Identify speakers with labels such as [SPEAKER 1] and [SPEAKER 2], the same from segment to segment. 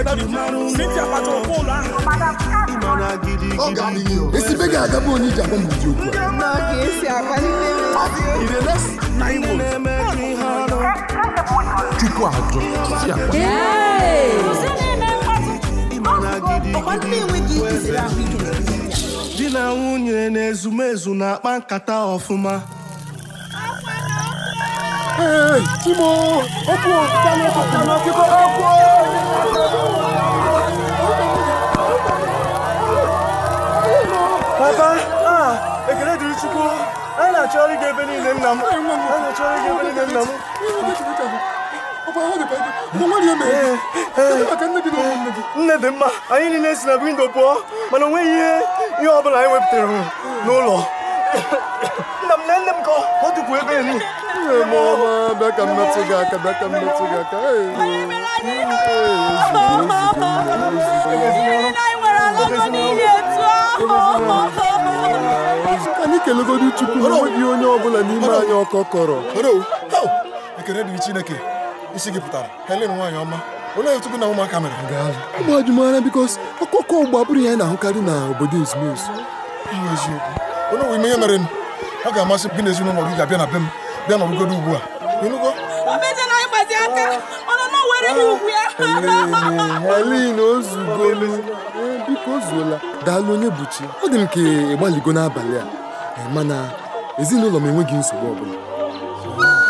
[SPEAKER 1] Cynthia Patrokolo ahụ.
[SPEAKER 2] Ọ ga-adịghị o. Esibe ga-agabụ onye iji agwa m ụdị okwu a.
[SPEAKER 1] na Igbo.
[SPEAKER 2] Chukwu ajọ, isi akwa.
[SPEAKER 3] ọkwa ndị enweghị ike siri ahụ ike
[SPEAKER 4] di na nwunye na-ezumezu na-akpa nkata ọfụma
[SPEAKER 2] Ee, Timo, ọkụ ọkụkọ ọkụkọ n'akụkọ ọkụ.
[SPEAKER 5] Papa, ah, ekele dịrị Chukwu. Anyị na-achọ ịga ebe niile nna m. Anyị na-achọ ịga ebe niile nna m. Eh, Nne dị mma, anyị niile si na windo pụọ, mana o nweghị ihe ihe ọ bụla anyị wepụtara hụ n'ụlọ. Nna m na nne m ka ọ dịkwu ebe elu.
[SPEAKER 6] Eh,
[SPEAKER 7] anyị kelegodu chukwu na enweghị onye ọbụla n'ime anyị ọkọ kọrọ
[SPEAKER 2] Hello. Hello. Ekele dịrị Chineke. Isi gị pụtara. Helen nwaanyị ọma. Olee otu gị na ụmụaka mere? Gaalụ.
[SPEAKER 7] ụmụ ajụmara bikos ọkụkọ ụgbọ abụrụ ihe a na-ahụkarị na obodo ezumezu
[SPEAKER 2] Iwe eziokwu. Onye nwe ime ihe mere nụ? Ọ ga-amasị m gị na ezinụlọ gị ga-abịa na be m. Bịa nọrụgodo ugbu a. Ịnụgo?
[SPEAKER 7] helen ozugo Ee, Eh, biko ozuola daalụ onye buchi ọ dị m ka ịgbaligo n'abalị a Ee, mana ezinụlọ m enweghị nsogbu ọbụla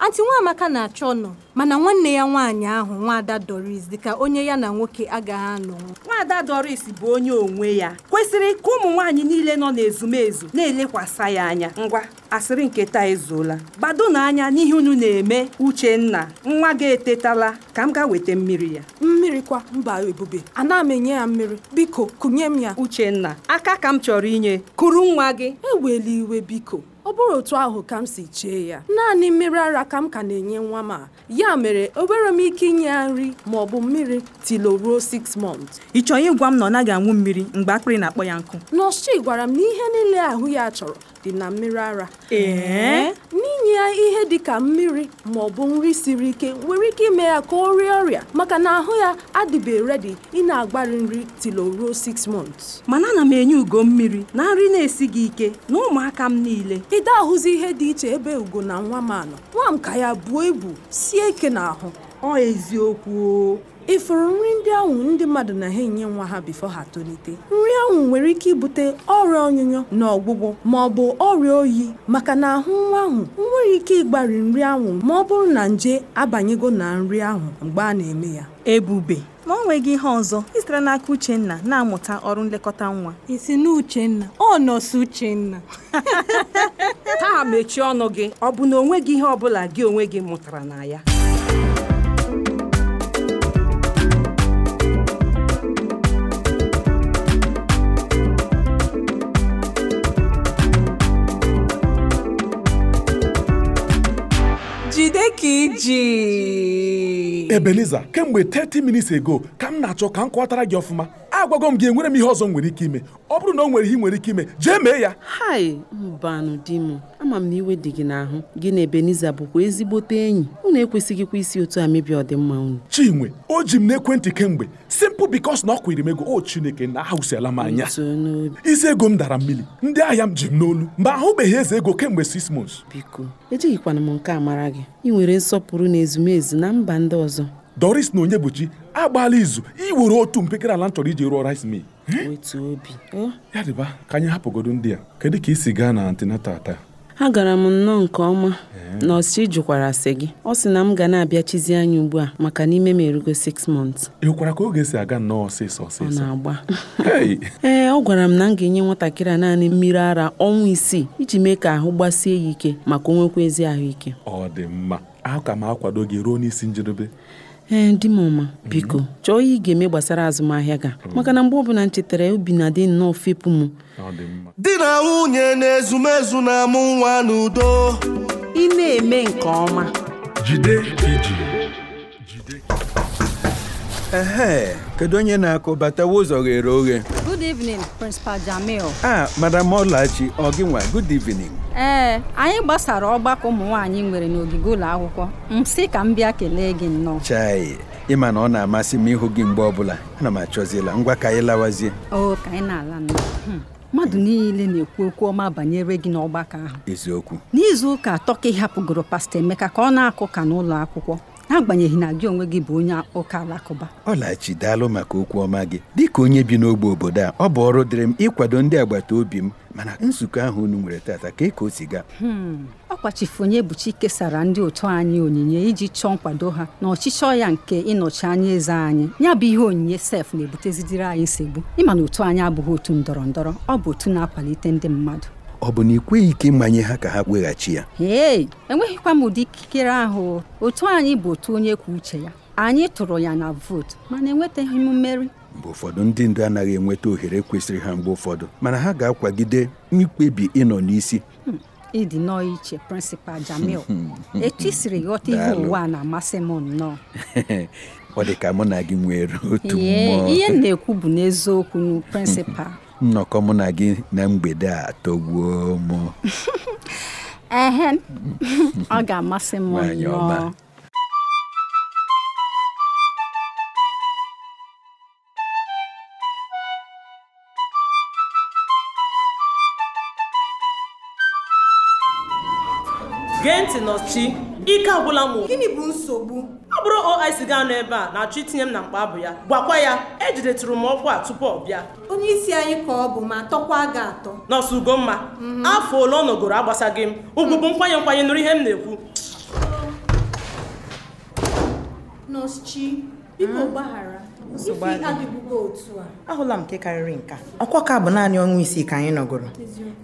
[SPEAKER 8] anti nwaamaka na-achọ ọnụ mana nwanne ya nwaanyị ahụ nwaada doris dịka onye ya na nwoke agaghị anọ
[SPEAKER 3] nwaada doris bụ onye onwe ya kwesịrị ka ụmụ nwaanyị niile nọ n'ezumezu na-elekwasa ya anya ngwa asịrị nke taa ezuola gbado na anya n'ihe unu na-eme uchenna nwa gị etetala ka m gaa weta mmiri ya
[SPEAKER 9] mmiri kwa mba ebube ana m enye ya mmiri biko kụnye m ya
[SPEAKER 3] uchenna aka ka m chọrọ inye kuru nwa gị
[SPEAKER 9] ewela iwe biko ọ bụrụ otu ahụ ka m si chee ya naanị mmiri ara ka m ka na-enye nwa m a ya mere obere m ike inye ya nri ma ọ bụ mmiri tilo ruo 6 months
[SPEAKER 3] ị chọrọ ịgwa m na ọ naghị anwụ mmiri mgbe akpịrị na-akpọ ya nkụ
[SPEAKER 9] nọọsụ gwara m na ihe niile ahụ ya chọrọ dị na mmiri ara
[SPEAKER 3] Ee?
[SPEAKER 9] n'inye ya ihe dị ka mmiri ma ọ bụ nri siri ike nwere ike ime ya ka ọ rịa ọrịa maka na ahụ ya adịbe redi ị na-agbari nri tilo ruo 6 months
[SPEAKER 3] mana ana m enye ugo mmiri na nri na-esighị ike na ụmụaka m niile
[SPEAKER 9] ị da ahụzi ihe dị iche ebe ugo na nwa m anọ nwa m ka ya buo ibu sie ike n'ahụ
[SPEAKER 3] ọ eziokwu o.
[SPEAKER 9] ifuru nri ndị ahụ ndị mmadụ na ha enye nwa ha bifo ha tolite nri ahụ nwere ike ibute ọrịa ọnyụnyọ na ọgwụgwụ ma ọ bụ ọrịa oyi maka na ahụ nwa ahụ nwere ike ịgbari nri ahụ ma ọ bụrụ na nje abanyego na nri ahụ mgbe a na-eme ya
[SPEAKER 3] ebube ma ọ nweghị ihe ọzọ ị sitere n'aka uchenna na-amụta ọrụ nlekọta nwa
[SPEAKER 8] isi n'uchenna ọ nọsi uchenna
[SPEAKER 3] taa mechie ọnụ gị ọ bụ na o nweghị ihe ọbụla gị onwe gị mụtara na ya
[SPEAKER 9] jide ka iji
[SPEAKER 10] ebeliza kemgbe 30 minutes ago ka m na-achọ ka m kọwatara gị ọfụma agwago m gị enwere m ihe ọzọ m nwere ike ime ọ bụrụ na o nwere ihe ị nwere ike ime jee mee ya
[SPEAKER 11] hai mbanụ di m ama m na iwe dị gị n'ahụ gị na ebeniza bụkwa ezigbote enyi unu ekwesịghịkwa isi otu a mebi ọdịmma unu
[SPEAKER 10] chinwe o ji m n'ekwentị kemgbe simple because na ọ kwere m ego o chineke na ahụsiala m anya
[SPEAKER 11] so n'obi
[SPEAKER 10] isi ego m dara mmiri ndị ahịa m ji m n'olu mgbe ahụbeghị eze ego kemgbe 6 months
[SPEAKER 11] biko ejighịkwana m nke a mara gị ị nwere nsọpụrụ na ezumezu na mba ndị ọzọ
[SPEAKER 10] doris na onyebuchi agbaala izu iwere otu mpekere ala m chọrọ iji rụọ rice mill
[SPEAKER 11] otu obi o
[SPEAKER 10] ya dịba ka anyị hapụgodo ndị a kedu ka isi gaa na antinatal taa
[SPEAKER 11] ha gara m nnọọ nke ọma na ọsị jụkwara sị gị ọ sị na m ga na-abịachizi anya ugbu a maka na ime m erugo 6 months
[SPEAKER 10] ị hụkwara ka oge si aga nnọọ ọsịsọ
[SPEAKER 11] ọ
[SPEAKER 10] ọsịsọ
[SPEAKER 11] na-agba
[SPEAKER 10] Hey!
[SPEAKER 11] ee ọ gwara m na m ga-enye nwatakịrị a naanị mmiri ara ọnwa isii iji mee ka ahụ gbasie ya ike maka o nwekwa ezi ahụike
[SPEAKER 10] ọ dị mma aka m akwado gị ruo n'isi njedebe
[SPEAKER 11] ee di m ọma Eh, biko chọọ ihe ị ga-eme gbasara azụmahịa ga maka na mgbe ọbụla m chetara ya, obi na-adị nnọọ fepụ m
[SPEAKER 10] ọ dị mma
[SPEAKER 4] di na nwunye na-ezumezu na-amụ nwa n'udo
[SPEAKER 11] ị na-eme nke ọma
[SPEAKER 5] Ehe, kedu onye na-akụ batawa ụzọ ghere oghe?
[SPEAKER 8] good
[SPEAKER 12] Good evening, Principal Jamil.
[SPEAKER 13] ah madam ọlachi ọ gị nwa good evening
[SPEAKER 12] Ee, Eh, anyị gbasara ọgbakọ ụmụ nwaanyị nwere n'ogige ụlọ akwụkwọ. M sị ka m bịa kelee gị nnọọ.
[SPEAKER 13] chai ịma na ọ na-amasị m ịhụ gị mgbe ọbụla ana m achọziela ngwa ka anyị lawazie
[SPEAKER 12] O ka anyị na-ala nnọọ. Hmm. Mmadụ niile na-ekwu okwu ọma banyere gị n'ọgbakọ ahụ.
[SPEAKER 13] eziokwu
[SPEAKER 12] N'izu ụka atọ ka ị hapụgoro Pasta Emeka ka ọ na-akụ ka n'ụlọ akwụkwọ. N'agbanyeghị na gị onwe gị bụ onye ụka alakụba.
[SPEAKER 13] ọlachi daalụ maka okwu ọma gị dịka onye bi n'ogbe obodo a ọ bụ ọrụ dịrị m ịkwado ndị agbata obi m mana nzukọ ahụ unu nwere tata ka ka o si gaa
[SPEAKER 12] Hmm. Ọ kwachifonye Ebuchi kesara ndị otu anyị onyinye iji chọọ nkwado ha na ọchịchọ ya nke ịnọchi anya eze anyị ya bụ ihe onyinye sef na-ebutezidiri anyị nsogbu ịma na otu anyị abụghị otu ndọrọ ndọrọ ọ bụ otu na-akwalite ndị mmadụ
[SPEAKER 13] ọ bụ na ị kweghị ike ịmanye ha ka ha weghachi ya
[SPEAKER 12] ee enweghịkwa m ụdị ikikere ahụ otu anyị bụ otu onye kwuo uche ya anyị tụrụ ya na vootu mana enwetaghị m mmeri
[SPEAKER 13] mgbe ụfọdụ ndị ndu anaghị enweta ohere kwesịrị ha mgbe ụfọdụ mana ha ga-akwagide ikpebi ịnọ n'isi Hmm.
[SPEAKER 12] Hmm, ịdị nọọ iche prịnsịpal jamil etu i siri ghọta ihe
[SPEAKER 13] Daalụ.
[SPEAKER 12] ụwa na-amasị m nnọọ
[SPEAKER 13] ọ dị ka mụ na gị nwere otu
[SPEAKER 12] Ee, ihe m
[SPEAKER 13] mmụọ
[SPEAKER 12] na-ekwu bụ n'eziokwu nu prịnsịpal
[SPEAKER 13] nnọkọ mụ na gị na mgbede a tọgbuo m
[SPEAKER 12] ehe ọ ga-amasị m
[SPEAKER 13] Nwaanyị
[SPEAKER 12] nnọọ
[SPEAKER 13] ọma.
[SPEAKER 14] gee ntị nọchi ike agwụla m o.
[SPEAKER 15] Gịnị bụ nsogbu?
[SPEAKER 14] ọ bụrụ oic gaa nọ ebe a na-achọ itinye m na mkpa abụ ya gwakwa ya ejidetụrụ m ọkwa a tupu ọ bịa
[SPEAKER 15] Onye isi anyị ka ọ bụ ma tọkwa gị atọ.
[SPEAKER 14] nọọsụ ugomma
[SPEAKER 15] Mhm.
[SPEAKER 14] afọ ole ọ nọgoro agbasaghị m ugwu bụ nkwanye nkwanye nụrụ ihe m na-ekwu
[SPEAKER 15] Nọọsụ Chi, biko gbaghara. Ife
[SPEAKER 16] Nsogbu adịghị.
[SPEAKER 15] adịbụgo otu a.
[SPEAKER 16] ahụla m nke karịrị nke a. ọkwa ka bụ naanị ọnwa isii ka anyị nọgoro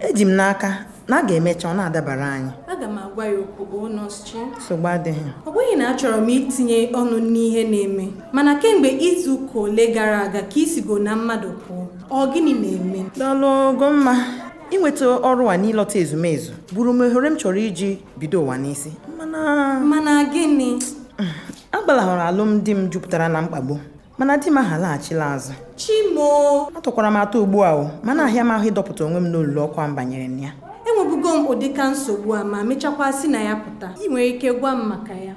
[SPEAKER 16] eji m n'aka na a ga-emecha ọ na-adabara anyị
[SPEAKER 15] Aga m agwa ya okwu bụ nọọsụ Chi.
[SPEAKER 16] nsogbu adịghị
[SPEAKER 15] Ọ bụghị na achọrọ m itinye ọnụ n'ihe na-eme mana kemgbe izu ụka ole gara aga ka isigo na mmadụ pụọ ọ gịnị na-eme?
[SPEAKER 16] daalụgo mma inweta ọrụ a n'ịlọta ezumezu bụrụ m ohere m chọrọ iji bido ụwa n'isi Mana.
[SPEAKER 15] Mana gịnị?
[SPEAKER 16] agbalahụrụ alụmdi m jupụtara na mkpagbu mana di m aha laghachila azụ
[SPEAKER 15] Chimo!
[SPEAKER 16] atụkwara m atụ ugbu a o mana ahịa m ahụ ịdọpụta onwe m n'olulu ọkwa m banyere na ya
[SPEAKER 15] Enwebugo m ụdịka nsogbu a ma mechakwa si na ya pụta. Ị nwere ike gwa m maka ya.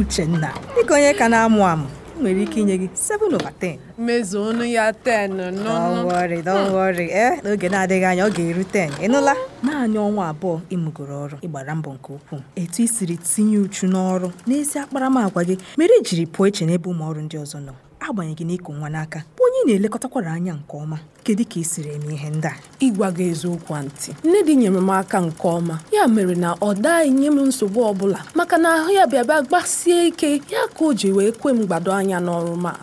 [SPEAKER 6] uchenna dịka onye ka na-amụ amụ m nwere ike inye gị 7 over 10
[SPEAKER 17] mmezu ọnụ ya 10
[SPEAKER 6] Don't
[SPEAKER 17] n'ọnụ
[SPEAKER 6] worry, don't worry. Eh, n'oge na-adịghị anya ọ ga-eru 10 ịnụla naanị ọnwa abụọ ịmụgoro ọrụ ịgbara mbọ nke ukwuu etu i siri tinye uchu n'ọrụ n'ezi akparamagwa gị mere i jiri pụọ iche n'ebe ụmụ ọrụ ndị ọzọ nọ agbanyeghị na ịkụ nwa n'aka bụ onye ị na-elekọtakwara anya nke ọma kedu ka i siri eme ihe ndị a
[SPEAKER 17] ịgwa gị eziokwu ntị nne dị nyere m aka nke ọma ya mere na ọ daghị nye m nsogbu ọbụla maka na ahụ ya bịaba gbasie ike ya ka o ji wee kwe m gbado anya n'ọrụ m a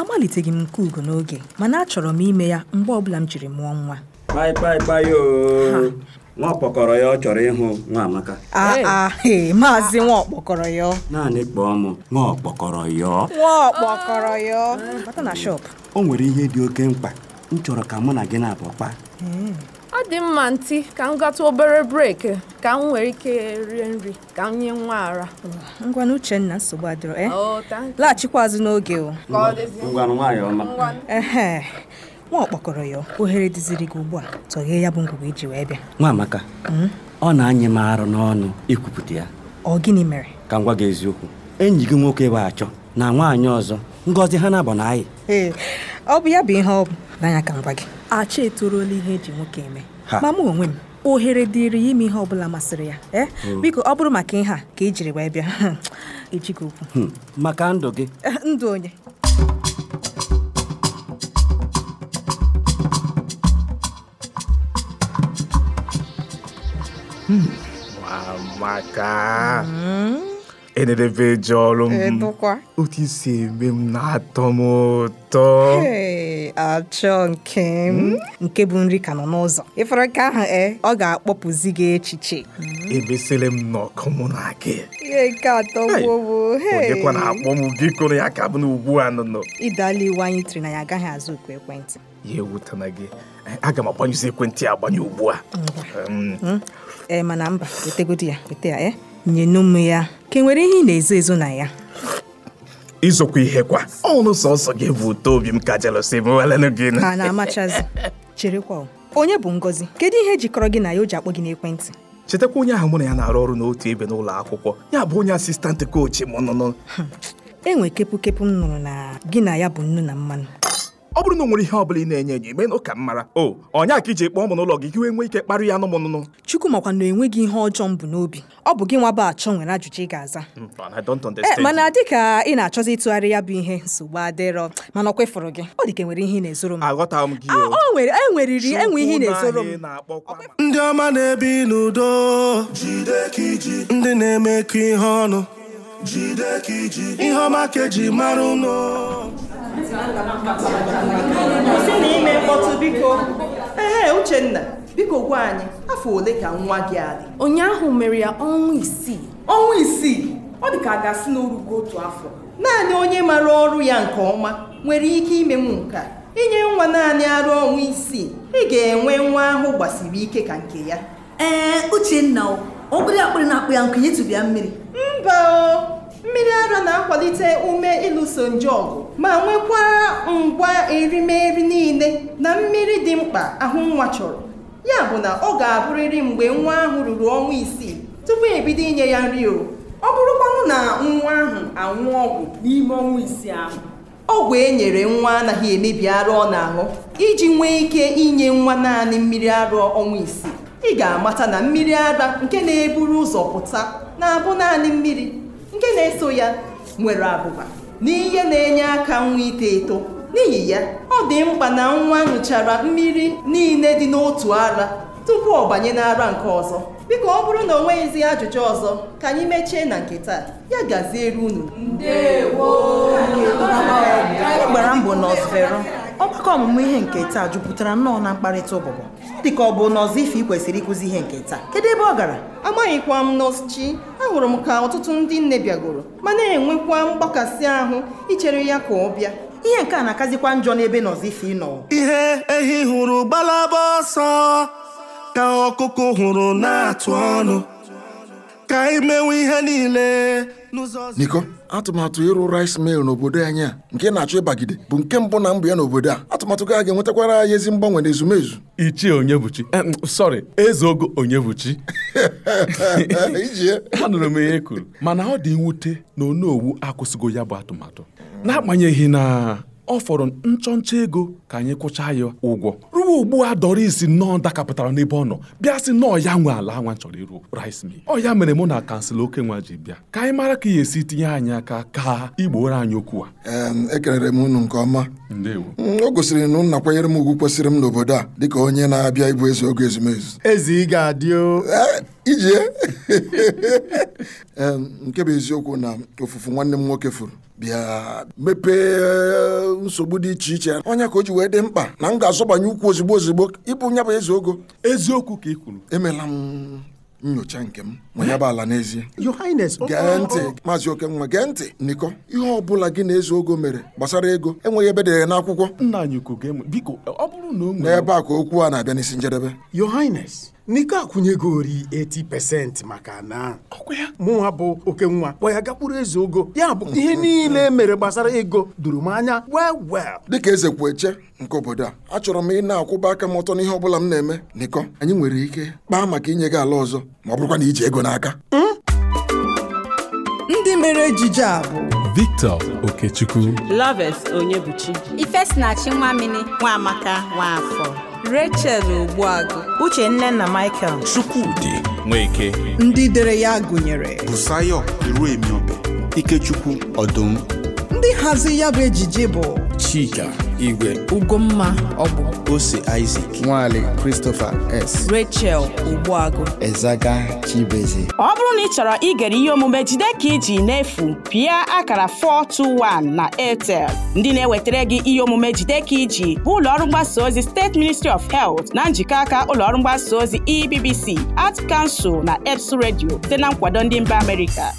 [SPEAKER 6] amaliteghị m nke ugo n'oge mana achọrọ m ime ya mgbe ọbụla m jiri mụọ nwa
[SPEAKER 18] kpaịkpaịkpaị oo nwa ọkpọkọrọ ya ọ chọrọ ịhụ nwa amaka
[SPEAKER 6] aa ee maazị nwa ọkpọkọrọ ya
[SPEAKER 18] naanị kpọọ m nwa ọkpọkọrọ ya
[SPEAKER 6] nwa ọkpọkọrọ ya bata na shop
[SPEAKER 18] o nwere ihe dị oke mkpa m chọrọ ka mụ na gị na-abụ kpa
[SPEAKER 17] ọ dị mma ntị ka m gatụ obere breeki ka m nwere ike rie nri ka m nye nwa ara
[SPEAKER 6] ngwa na uchenna nsogbu adịrọ e
[SPEAKER 17] Oh, thank you.
[SPEAKER 6] laghachikwa azụ n'oge o
[SPEAKER 17] Ka ọ dịzie.
[SPEAKER 18] ngwanụ nwaanyị ọma
[SPEAKER 17] Ngwanụ.
[SPEAKER 6] ehe nwa ọkpọkọrọ ya ohere dịziri gị ugbu a tọghee ya bụ ngwugwu iji wee bịa
[SPEAKER 18] nwa amaka
[SPEAKER 6] Mm?
[SPEAKER 18] ọ na-anyị m arụ n'ọnụ ikwupụta ya
[SPEAKER 6] ọ gịnị mere
[SPEAKER 18] ka m gwa gị eziokwu enyi gị nwoke bụ achọ na nwaanyị ọzọ ngọzi ha na-abọ na anyị
[SPEAKER 6] ee ọ bụ ya bụ ihe ọ bụ n'anya ka m gwa gị acha etoruola ihe eji nwoke eme
[SPEAKER 18] Ha.
[SPEAKER 6] ma mụ onwe m ohere dịrị ya ime ihe ọ bụla masịrị ya e
[SPEAKER 18] Mm.
[SPEAKER 6] biko ọ bụrụ maka ihe a ka i jiri wee bịa ejighị okwu
[SPEAKER 18] Hmm, maka ndụ gị
[SPEAKER 6] Eh, ndụ onye
[SPEAKER 19] amaka enedebe eje ọrụ m
[SPEAKER 6] edokwa
[SPEAKER 19] otu isi eme m na-atọ m ụtọ
[SPEAKER 6] Hey, achọ nke m nke bụ nri ka nọ n'ụzọ ịfọrọ nke ahụ e ọ ga-akpọpụzi gị echiche
[SPEAKER 19] emesịrị m n'ọkụ mụ na gị
[SPEAKER 6] ihe nke atọ
[SPEAKER 19] Hey,
[SPEAKER 6] gbuo
[SPEAKER 19] onye na akpọ m gị kụrụ ya ka bụ na ugbu a nọ nọ
[SPEAKER 6] ịdala iwu anyị tiri na ya agaghị azụ oku ekwentị
[SPEAKER 19] ya ewutana gị aga m agbanyụzi ekwentị a agbanye ugbu a Mm.
[SPEAKER 6] ee Hmm? Eh, mana mba wetegodi ya weta ya ee nyenu m ya ka e nwere ihe ị na-ezo ezo na ya
[SPEAKER 19] izokwa ihe kwa ọnụ sọsọ gị bụ ụtọ obi m ka jelosi mewelenu gị
[SPEAKER 6] ha na-amachazi cherekwa o. onye bụ ngozi kedu ihe jikọrọ gị na ya o ji akpọ gị n'ekwentị
[SPEAKER 19] chetakwa onye ahụ mụ na ya na-arụ ọrụ n'otu ebe n'ụlọ akwụkwọ ya bụ onye asistantị kochi m nọ
[SPEAKER 6] enwe kepukepu m nụrụ na gị na ya bụ nnu na mmanụ
[SPEAKER 19] ọ bụrụ na o nwere ihe ọ bụla ị na-enye enye imenụ ka m mara o ọnya ka iji kpọọ m n'ụlọ gị ka iwe nwee ike kparị ya anụmụnụnụ
[SPEAKER 6] chukwu makwa na enweghị ihe ọjọọ mbụ n'obi ọ bụ gị nwa bụ achọ nwere ajụjụ ị ga-aza
[SPEAKER 19] And I don't
[SPEAKER 6] ee
[SPEAKER 19] understand.
[SPEAKER 6] mana dịka ị na-achọzi ịtụgharị ya bụ ihe nsogbu adịrọ mana ọ kwefụrụ gị ọ dị ka enwere ihe ị na-ezoro m
[SPEAKER 19] aghọtaghị m gị
[SPEAKER 6] Ah,
[SPEAKER 19] o.
[SPEAKER 6] o nwere e nweriri enwe ihe ị na-ezoro m
[SPEAKER 5] ndị ọma na-ebi n'udo ndị na-emekọ ihe ọnụ ihe ọma ka eji mara ụnụ
[SPEAKER 14] kwụsị na ime mkpọtụ biko ehe uchenna biko gwa anyị afọ ole ka nwa gị a dị
[SPEAKER 20] ụnyaahụ mere ya ọnwa isii
[SPEAKER 14] ọnwa isii ọ dị ka a ga-asị na orugo otu afọ naanị onye mara ọrụ ya nke ọma nwere ike imenwu nke a. inye nwa naanị arụ ọnwa isii ị ga-enwe nwa ahụ gbasiri ike ka nke ya
[SPEAKER 21] ee uchenna o, ọ bụrụ akpịrị na-akpụ ya nkụ nyetụbịa mmiri
[SPEAKER 14] mba o mmiri ara na-akwalite ume ịlụso nje ọgụ ma nwekwaa ngwa erimeri niile na mmiri dị mkpa ahụ nwa chọrọ ya bụ na ọ ga-abụrịrị mgbe nwa ahụ ruru ọnwa isii tupu ebido inye ya nri o ọ bụrụkwanụ na nwa ahụ anwụ ọgwụ n'ime ọnwa isii ahụ ọgwụ e nyere nwa anaghị emebi ara ọ na-aṅụ iji nwee ike inye nwa naanị mmiri ara ọnwa isii ị ga-amata na mmiri ara nke na-eburu ụzọ pụta na-abụ naanị mmiri nke na-eso ya nwere abụba na ihe na-enye aka nwa ito eto n'ihi ya ọ dị mkpa na nwa ṅụchara mmiri niile dị n'otu ara tupu ọ banye n'ara nke ọzọ biko ọ bụrụ na o nweghịzi ajụjụ ọzọ ka anyị mechie na nke taa ya gaziere unu
[SPEAKER 16] ọ gbara mbọ na ọsfero ọgbakọ ọmụmụ ihe nke taa jupụtara nnọọ na mkparịta ụbụbọ dịka ọ bụ na ọzọ ife ị kwesịrị ịkụzi ihe nke taa kedu ebe ọ gara
[SPEAKER 14] amaghịkwa m nọschi ahụrụ m ka ọtụtụ ndị nne bịagoro ma na-enwekwa mgbakasị ahụ ichere ya ka ọ bịa
[SPEAKER 16] ihe nke a na-akazikwa njọ n'ebe na ọzọ ife ị nọ
[SPEAKER 5] ihe ehi hụrụ gbalaba ọsọ ka ọkụkụ hụrụ na-atụ ọnụ ka imewe ihe niile
[SPEAKER 2] niko atụmatụ ịrụ rice mill n'obodo anyị a nke na-achọ ịbagide bụ nke mbụ na mbụ ya n'obodo a atụmatụ gị a ga-enwetakwara anyị ezi mgbanwe na ezumezu
[SPEAKER 10] ichie onyebuchi eh, mm, sorry eze ogo onyebuchi anụrụ m ihe e kwuru mana ọ dị mwute na onowu akwụsịgo ya bụ atụmatụ n'agbanyeghị na ọ fọrọ nchọnchọ ego ka anyị kwụcha ya ụgwọ ruo ugbu a doris nnọọ dakapụtara n'ebe ọ nọ bịa sị nnọọ ya nwe ala anwa chọrọ iru rice mill ọ ya mere mụ na kansụl okenwa ji bịa ka anyị mara ka ị ga-esi tinye anyị aka ka igboro anyị okwu a
[SPEAKER 2] Em, ekelere m unu nke ọma
[SPEAKER 10] ndewo
[SPEAKER 2] Mm, o gosiri na unu nakwanyere m ugwu kwesịrị m n'obodo a dịka onye na-abịa ịbụ eze oge ezumezu
[SPEAKER 7] ezi ị ga-adị o
[SPEAKER 2] ijie Em, nke bụ eziokwu na ofufu nwanne m nwoke furu bịa mepee eh, nsogbu dị iche iche ọnya ka o ji wee dị mkpa na m ga-azọbanye ụkwụ ozigbo ozigbo ịbụ nya bụ eze ogo
[SPEAKER 10] eziokwu ka ị kwuru
[SPEAKER 2] emela m nyocha nke m ma ya bụ ala n'ezie
[SPEAKER 7] Your Highness, oh,
[SPEAKER 2] gee ntị maazị okenwa gee ntị niko ihe ọbụla gị na eze ogo mere gbasara ego enweghị ebe dere n'akwụkwọ
[SPEAKER 10] nna anyị ukwu ga-enwe biko ọ bụrụ na o nwere
[SPEAKER 2] n'ebe a ka okwu a na-abịa n'isi njedebe
[SPEAKER 7] Your Highness, Nike akwụnyegori 80% maka na ọkwa ya mụnwa bụ oke nwa kpọ ya gakwuru eze ogo ya bụ ihe niile mere gbasara ego duru m anya well well
[SPEAKER 2] dịka eze kwụ eche nke obodo a achọrọ m ị na-akwụba aka m ọtọ n'ihe ọbụla m na-eme niko anyị nwere ike kpaa maka inye gị ala ọzọ ma ọ bụrụkwa na iji ego n'aka
[SPEAKER 7] Hmm?
[SPEAKER 11] ndị mere ejije a bụ
[SPEAKER 10] victor okechukwu
[SPEAKER 22] Loves Onyebuchi
[SPEAKER 20] Ifesinachi Nwamini Nwamaka Nwafọ
[SPEAKER 11] Rachel Ogbuagụ Uchenne na Michael
[SPEAKER 9] Chukwudị Nweke
[SPEAKER 11] ndị dere ya gụnyere
[SPEAKER 9] Busayo Iruemiobe Ikechukwu Ọdụm
[SPEAKER 11] ndị hazi ya bụ ejije bụ
[SPEAKER 9] Chika Igwe
[SPEAKER 11] Ugomma Ọbụ
[SPEAKER 9] Ose Isaac Nwale Christopher S
[SPEAKER 11] Rachel Ogbuagụ
[SPEAKER 9] Ezaga Chibeze
[SPEAKER 22] ọ bụrụ na ị chọrọ igere ihe omume jide ka iji n'efu pịa akara 421 na airtel ndị na-ewetara gị ihe omume jide ka iji bụ ụlọọrụ mgbasa ozi steeti ministry of health na njikọ aka ụlọọrụ E mgbasa ozi ebbc art kansụl na eps redio site na nkwado ndị mba amerịka